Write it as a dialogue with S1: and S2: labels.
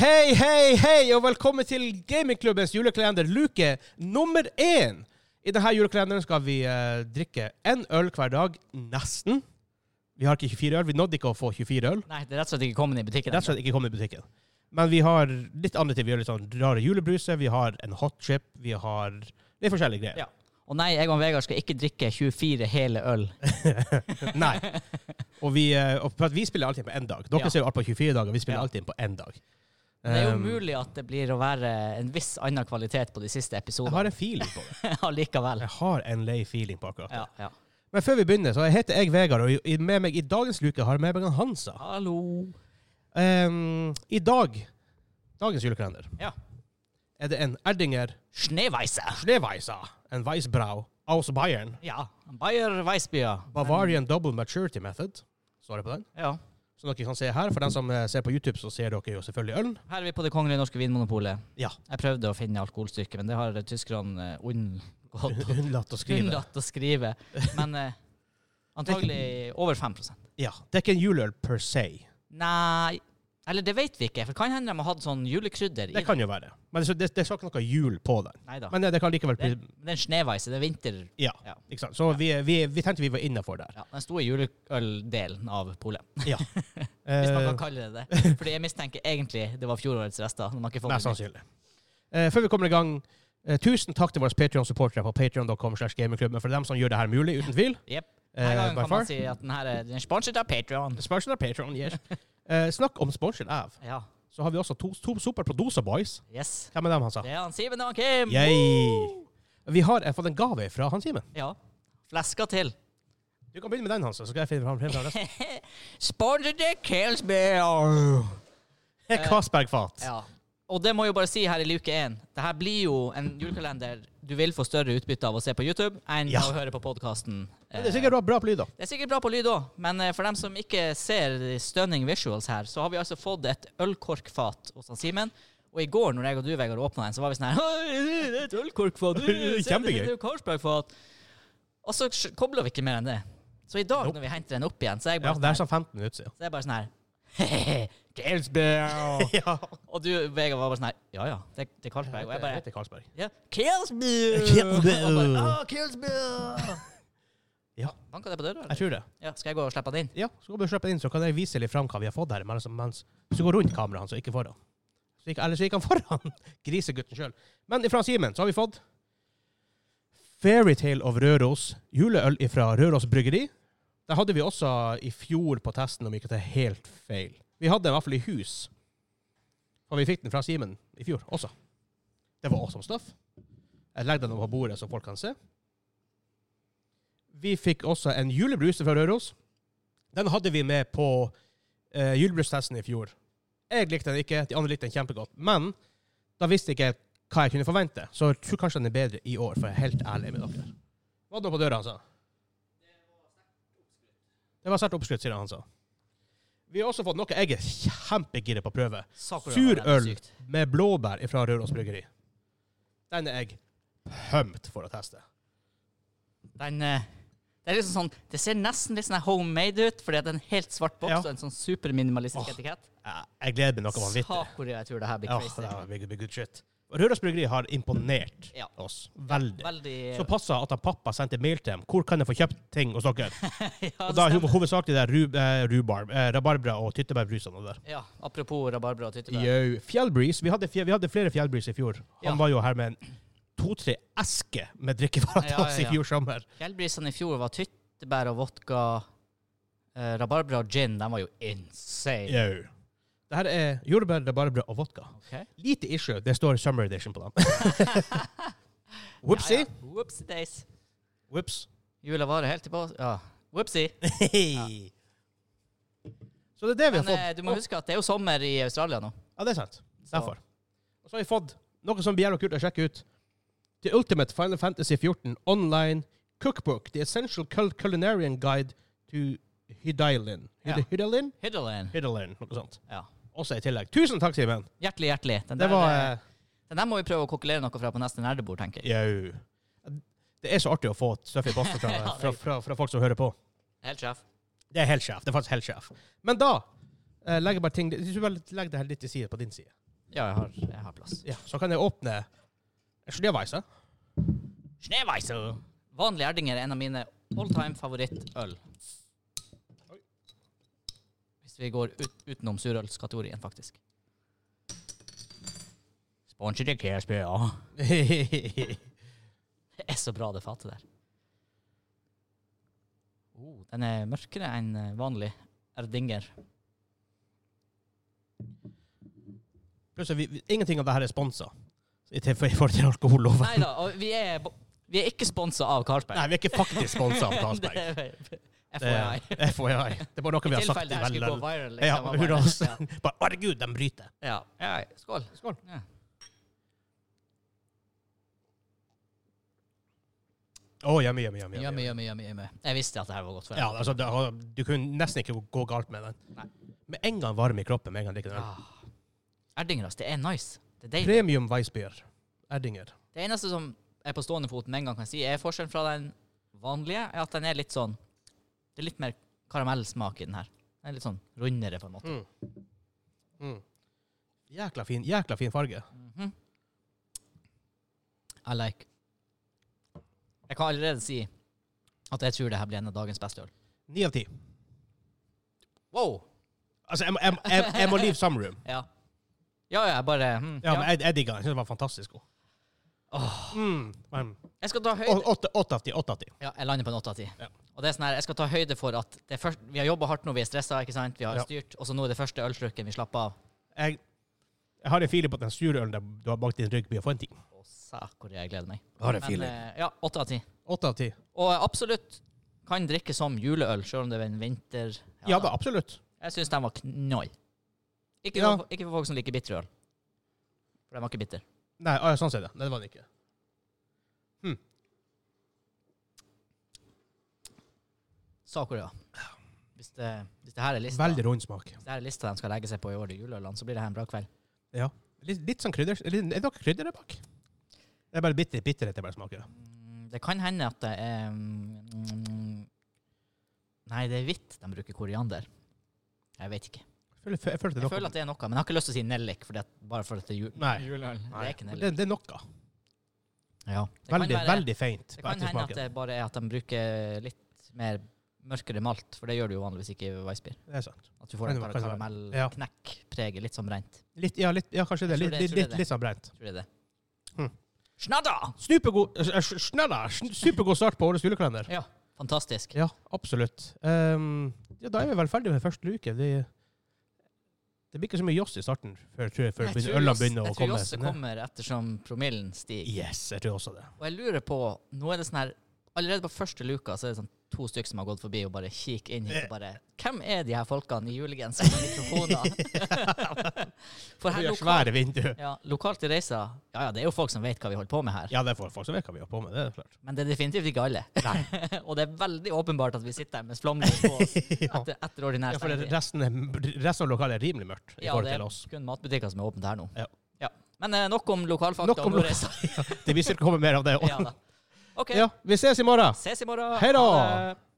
S1: Hei, hei, hei, og velkommen til gamingklubbens julekalender luke nummer én. I denne julekalenderen skal vi eh, drikke én øl hver dag, nesten. Vi har ikke 24 øl. Vi nådde ikke å få 24 øl.
S2: Nei, det er rett og slett ikke kommet i butikken.
S1: Rett og slett ikke kommet i butikken. Men vi har litt andre ting. Vi har litt sånn rare julebruser, vi har en hot chip, vi har litt forskjellige greier.
S2: Ja. Og nei, jeg og Vegard skal ikke drikke 24 hele øl.
S1: Nei. Og vi, eh, og for at vi spiller alltid på én dag. Dere
S2: Ja.
S1: ser jo alt på 24 dager, vi spiller
S2: Ja.
S1: alltid på én dag.
S2: Det er jo
S1: Um,
S2: mulig at det blir å være en viss annen kvalitet på de siste
S1: Jeg har
S2: episodene
S1: en feeling på det.
S2: allikevel.
S1: Jeg har en lei feeling på akkurat det.
S2: Ja, ja.
S1: Men før vi begynner, så heter jeg Vegard, og i- med meg i dagens luke har jeg med meg han Hansa.
S2: Hallo.
S1: Um, I dag, dagens julekalender,
S2: Ja.
S1: er det en Erdinger
S2: Schneeweise.
S1: Schneeweisa, en Weissbrau aus Bayern,
S2: Ja. Bayer Weissbya.
S1: Bavarian Double Maturity Method. Står det på den?
S2: Ja.
S1: Som dere kan se her. For den som eh, ser på YouTube, så ser dere jo selvfølgelig ølen.
S2: Her er vi på det kongelige norske vinmonopolet.
S1: Ja.
S2: Jeg prøvde å finne alkoholstyrke, men det har tyskerne eh, unngått å-
S1: Unnlatt å skrive.
S2: unnlatt å skrive. Men eh, antagelig over 5
S1: Ja. Det er ikke en juleøl per se.
S2: Nei. Eller det vet vi ikke, for kan hende de har hatt sånn julekrydder i
S1: Det kan jo være. Men det, det, det skal ikke noe jul på den.
S2: Neida.
S1: Men eh, det kan likevel
S2: Det,
S1: bli
S2: men det er en sneveise, det er vinter...
S1: Ja.
S2: Ja.
S1: Ikke sant? Så vi, vi, vi tenkte vi var innafor der.
S2: Ja, den store juleøldelen av polet,
S1: Ja.
S2: hvis man
S1: Eh,
S2: kan kalle det det. Fordi jeg mistenker egentlig det var fjorårets rester. når Man ikke
S1: Mest
S2: fått det.
S1: sannsynlig. Eh, før vi kommer i gang, eh, tusen takk til våre Patreon-supportere på patreon.com. slash gamingklubben for dem som gjør det her mulig, uten tvil.
S2: Jep.
S1: Eh,
S2: Her gangen
S1: by
S2: kan
S1: far.
S2: man si at den her er den er sponset av Patreon.
S1: Sponsored av Patreon, yes. Eh, snakk om sponsored av.
S2: Ja.
S1: Så har vi også to, to superproduser, boys.
S2: Yes.
S1: Hvem er dem, han sa?
S2: Det er han Simen og han Kim.
S1: Yay. Vi har eh, fått en gave fra han Simen.
S2: Ja. Fleska til.
S1: Du kan begynne med den, Hansa. Så skal jeg finne fram frem til resten.
S2: Sponset av Kelsberg.
S1: Castberg-fat.
S2: Ja. Og det må jeg jo bare si her i luke én. Det her blir jo en julekalender du vil få større utbytte av å se på YouTube enn
S1: Ja.
S2: å høre på eh, podkasten.
S1: Det er sikkert bra, bra på lyd, da.
S2: Det er sikkert bra på lyd òg, men eh, for dem som ikke ser de stunning visuals her, så har vi altså fått et ølkorkfat hos han Simen. Og i går, når jeg og du, Vegard, åpna den, så var vi sånn her «Oi, Det er et ølkorkfat! øh, se,
S1: Kjempegøy.
S2: Det er et Carlsbergfat!» Og så kobla vi ikke mer enn det. Så i dag,
S1: Nope.
S2: når vi henter den opp igjen, så er jeg
S1: Ja,
S2: bare,
S1: det er
S2: sånn,
S1: sånn 15 minutter siden.
S2: her- så er jeg bare sånn her Carlsberg!
S1: Ja.
S2: og du, Vegard, var bare sånn her Ja ja, det, det er Carlsberg. Og jeg
S1: Det
S2: bare
S1: heter Carlsberg.
S2: Ja, Carlsberg!
S1: Carlsberg.
S2: Og bare, «Ah, Carlsberg!
S1: Ja,
S2: Banka det på døra?
S1: jeg
S2: Eller?
S1: tror det.
S2: Ja, skal jeg gå og slippe den inn?
S1: Ja, så går vi og slipper inn, så kan jeg vise litt fram hva vi har fått her. Men altså, mens, hvis du går rundt kameraet hans, og ikke foran. Så gikk, eller så gikk han foran grisegutten sjøl. Men ifra Simen så har vi fått Fairytale of Røros, juleøl ifra Røros Bryggeri. Det hadde vi også i fjor på testen, om ikke det er helt feil. Vi hadde den i hvert fall i hus. Og vi fikk den fra Simen i fjor også. Det var awesome stuff. Jeg legger den på bordet så folk kan se. Vi fikk også en julebrus fra Røros. Den hadde vi med på eh, julebrustesten i fjor. Jeg likte den ikke, de andre likte den kjempegodt. Men da visste jeg ikke hva jeg kunne forvente, så jeg tror kanskje den er bedre i år, for jeg er helt ærlig med dere. Hva hadde han på døra, han sa? Det var sterkt oppskrytt, sier han, han sa. Vi har også fått noe jeg er kjempegira på å prøve.
S2: Sakura var
S1: Surøl
S2: veldig sykt.
S1: med blåbær fra Røros Bryggeri. Den er jeg pumped for å teste.
S2: Den eh, Det er liksom sånn Det ser nesten litt sånn her homemade ut, fordi at det er en helt svart boks
S1: Ja.
S2: og en sånn superminimalistisk
S1: Åh,
S2: etikett.
S1: Jeg jeg gleder meg noe vanvittig.
S2: Sakura, jeg tror det her blir
S1: Ja,
S2: crazy.
S1: det var big, big good shit. Røros Bryggeri har imponert
S2: Ja.
S1: oss veldig.
S2: Veldig
S1: Så passa at han pappa sendte mail til dem. Hvor kan jeg få kjøpt ting hos dere?
S2: ja,
S1: Og da er
S2: stemmer.
S1: ho- hovedsakelig det er ru, eh, rhubarb, eh, rabarbra og tyttebærbrusene der.
S2: ja, apropos rabarbra og tyttebær.
S1: Yo. Fjellbreeze. Vi hadde, fje- vi hadde flere fjellbreeze i fjor. Han
S2: Ja.
S1: var jo her med en to-tre esker med drikkevarer til
S2: Ja, ja,
S1: oss i
S2: ja.
S1: fjor sommer.
S2: Fjellbrisene i fjor var tyttebær og vodka. Eh, rabarbra og gin, den var jo insane.
S1: Yo. Det her er jordbær, rabarbra og vodka.
S2: Ok.
S1: Lite issue. Det står summer edition på dem. Whoopsie.
S2: Ja, ja. Whoopsie days.
S1: Whoops.
S2: Jula varer helt til på Ja. Whoopsie.
S1: Så det er det vi har
S2: Men
S1: fått.
S2: eh, du må huske at det er jo sommer i Australia nå.
S1: Ja, det er sant. Derfor. Og så har vi fått noe som blir jævla kult å sjekke ut. The Ultimate Final Fantasy 14 Online Cookbook. The Essential Cul Culinarian Guide to Hydalin. Hyd
S2: Ja.
S1: Hydalin?
S2: Hydrolane.
S1: Hydalin, noe sånt.
S2: Ja.
S1: Også i tillegg. Tusen takk, Simen.
S2: Hjertelig, hjertelig. Den
S1: Det
S2: der,
S1: var
S2: eh,
S1: eh,
S2: Den der må vi prøve å kokkelere noe fra på neste nerdebord, tenker jeg.
S1: Jau. Det er så artig å få stuff i posten fra,
S2: Ja, det-
S1: fra, fra, fra folk som hører på.
S2: Helt sjef.
S1: Det er helt sjef. Det er faktisk helt sjef. Men da eh, legger jeg bare ting Legg det her litt til side på din side.
S2: Ja, jeg har, jeg har plass.
S1: Ja, så kan jeg åpne Schneeweisse.
S2: Schneeweiser. Vanlig Erdinger er en av mine alltime favorittøl. Hvis vi går ut, utenom surølskategorien, faktisk. Sponset i KSB, ja. Det er så bra, det fatet der. Oh, den er mørkere enn eh, vanlig erdinger.
S1: Plutselig, vi, vi- ingenting av det her er sponsa i til- i forhold til alkoholloven.
S2: Nei da, vi er, bo- vi er ikke sponsa av Carlsberg.
S1: Nei, vi er ikke faktisk sponsa av Carlsberg.
S2: Det er FYI.
S1: Det er FYI. Det er bare noe vi
S2: I
S1: har sagt i
S2: tilfelle det her skulle gå
S1: veldig
S2: viral.
S1: Ja,
S2: liksom, og
S1: hurra
S2: bare-
S1: oss.
S2: ja.
S1: Bare herregud, de bryter.
S2: Ja. ja. Skål.
S1: Skål.
S2: Ja.
S1: Å, hjemme, hjemme, hjemme.
S2: Yummy, yummy, yummy, yummy. Jeg visste at det her var godt for deg.
S1: Ja, altså, det, har- du kunne nesten ikke gå galt med den.
S2: Nei.
S1: Med en gang varm i kroppen, med en gang drikker den.
S2: Ah. Erdingras, det er nice. Det er deilig.
S1: Premium Weissbier. Erdinger.
S2: Det eneste som jeg på stående fot med en gang kan si, er forskjellen fra den vanlige, er at den er litt sånn Det er litt mer karamellsmak i den her. Den er litt sånn rundere, på en måte.
S1: Mm. Mm. Jækla fin, jækla fin farge.
S2: Mhm. I like. Jeg kan allerede si at jeg tror det her blir en av dagens beste øl.
S1: Ni av ti.
S2: Wow!
S1: Altså, jeg, må- jeg, jeg, jeg må leave some room.
S2: Ja. Ja, ja, jeg bare hm,
S1: Ja,
S2: ja.
S1: men jeg, jeg digga den. Jeg synes den var fantastisk god.
S2: Åh.
S1: Mm. men-
S2: Jeg skal ta høyde
S1: Å- Åtte åtte av ti. Åtte av ti.
S2: Ja, jeg lander på en åtte av ti.
S1: Ja.
S2: Og det er sånn her, jeg skal ta høyde for at det er først, vi har jobba hardt nå, vi er stressa, ikke sant? Vi har
S1: Ja.
S2: styrt, og så nå er det første ølslurken vi slapper av.
S1: Jeg, jeg har en feeling på at den sure ølen der du har bakt i en rygg, blir å få en ti.
S2: Å, sæk hvor jeg gleder meg.
S1: Har
S2: Men, eh, ja, åtte av ti.
S1: Åtte av ti.
S2: Og jeg absolutt kan drikke som juleøl, sjøl om det er en vinter...
S1: Ja da, absolutt.
S2: Jeg syns den var knall. Ikke,
S1: Ja.
S2: for, ikke for folk som liker bitter øl. For den var ikke bitter.
S1: Nei, ah, ja, sånn ser det. Nei, det var den ikke.
S2: Sakura. Hvis det, hvis det her er lista,
S1: Veldig rund smak.
S2: hvis det her er lista de skal legge seg på i år, de juleølene, så blir det her en bra kveld.
S1: Ja. Litt, litt sånn krydder. Litt, er det noe krydder der bak? Det er bare bitter, bitterhet jeg bare smaker.
S2: Mm, Det kan hende at det er mm, Nei, det er hvitt de bruker koriander. Jeg vet ikke.
S1: Jeg føler, jeg føler det
S2: Jeg
S1: er
S2: føler
S1: noe.
S2: at det er noe, men jeg har ikke lyst til å si nellik fordi at, bare for at det er jul.
S1: Nei.
S2: Juleøl. Det
S1: Nei,
S2: er ikke
S1: men
S2: nellik.
S1: det, det er noe.
S2: Ja. Det kan
S1: Veldig,
S2: være-
S1: veldig feint
S2: Det
S1: på
S2: kan hende at
S1: ettersmaken.
S2: det bare er at de bruker litt mer mørkere malt, for det gjør du jo vanligvis ikke i Weissbier.
S1: Det er sant.
S2: At du får
S1: Kan
S2: en
S1: det være, kan det være. Ja.
S2: karamellknekkpreget, litt som brent.
S1: Litt, ja, litt, ja, kanskje det.
S2: Jeg
S1: Litt,
S2: tror det- jeg
S1: litt,
S2: tror det er
S1: litt, litt sånn brent.
S2: Tror jeg det.
S1: Hm.
S2: Snadda!
S1: Supergod, eh, s- snella, sn- supergod start på årets julekalender.
S2: Ja. Fantastisk.
S1: Ja, absolutt. Ehm, ja, da er vi vel ferdig med første luke. Det, det blir ikke så mye joss i starten før, tror jeg, før
S2: Jeg tror
S1: ølene
S2: Joss-
S1: begynner å
S2: Jeg tror
S1: komme.
S2: Josse
S1: sånn, ja.
S2: kommer ettersom promillen stiger.
S1: Yes, jeg tror også det.
S2: Og jeg lurer på Nå er det sånn her Allerede på første luka så er det sånn to stykker som har gått forbi og bare kikk inn hit og bare Hvem er de her folkene i julegenser med mikrofoner? For
S1: Vi
S2: her
S1: har
S2: lokalt,
S1: svære vinduer.
S2: ja, lokalt i reisa Ja ja, det er jo folk som vet hva vi holder på med her.
S1: Ja, det er folk folk som vet hva vi har på med. Det er klart.
S2: Men det er definitivt ikke alle. og det er veldig åpenbart at vi sitter her med flomlys på oss
S1: ja.
S2: etter, etter ordinær
S1: Ja, for det-
S2: stengtid.
S1: resten, er- resten av lokalet er rimelig mørkt i
S2: Ja,
S1: forhold
S2: det
S1: til
S2: er
S1: oss.
S2: kun matbutikker som er åpne her nå.
S1: Ja.
S2: Men eh, nok om lokalfakta.
S1: Nok om
S2: og nordreisa.
S1: Det vil sikkert komme mer av det.
S2: ja, da. OK.
S1: Ja, vi ses i morgen.
S2: Ses i morgen.
S1: Hei da.
S2: Ha det.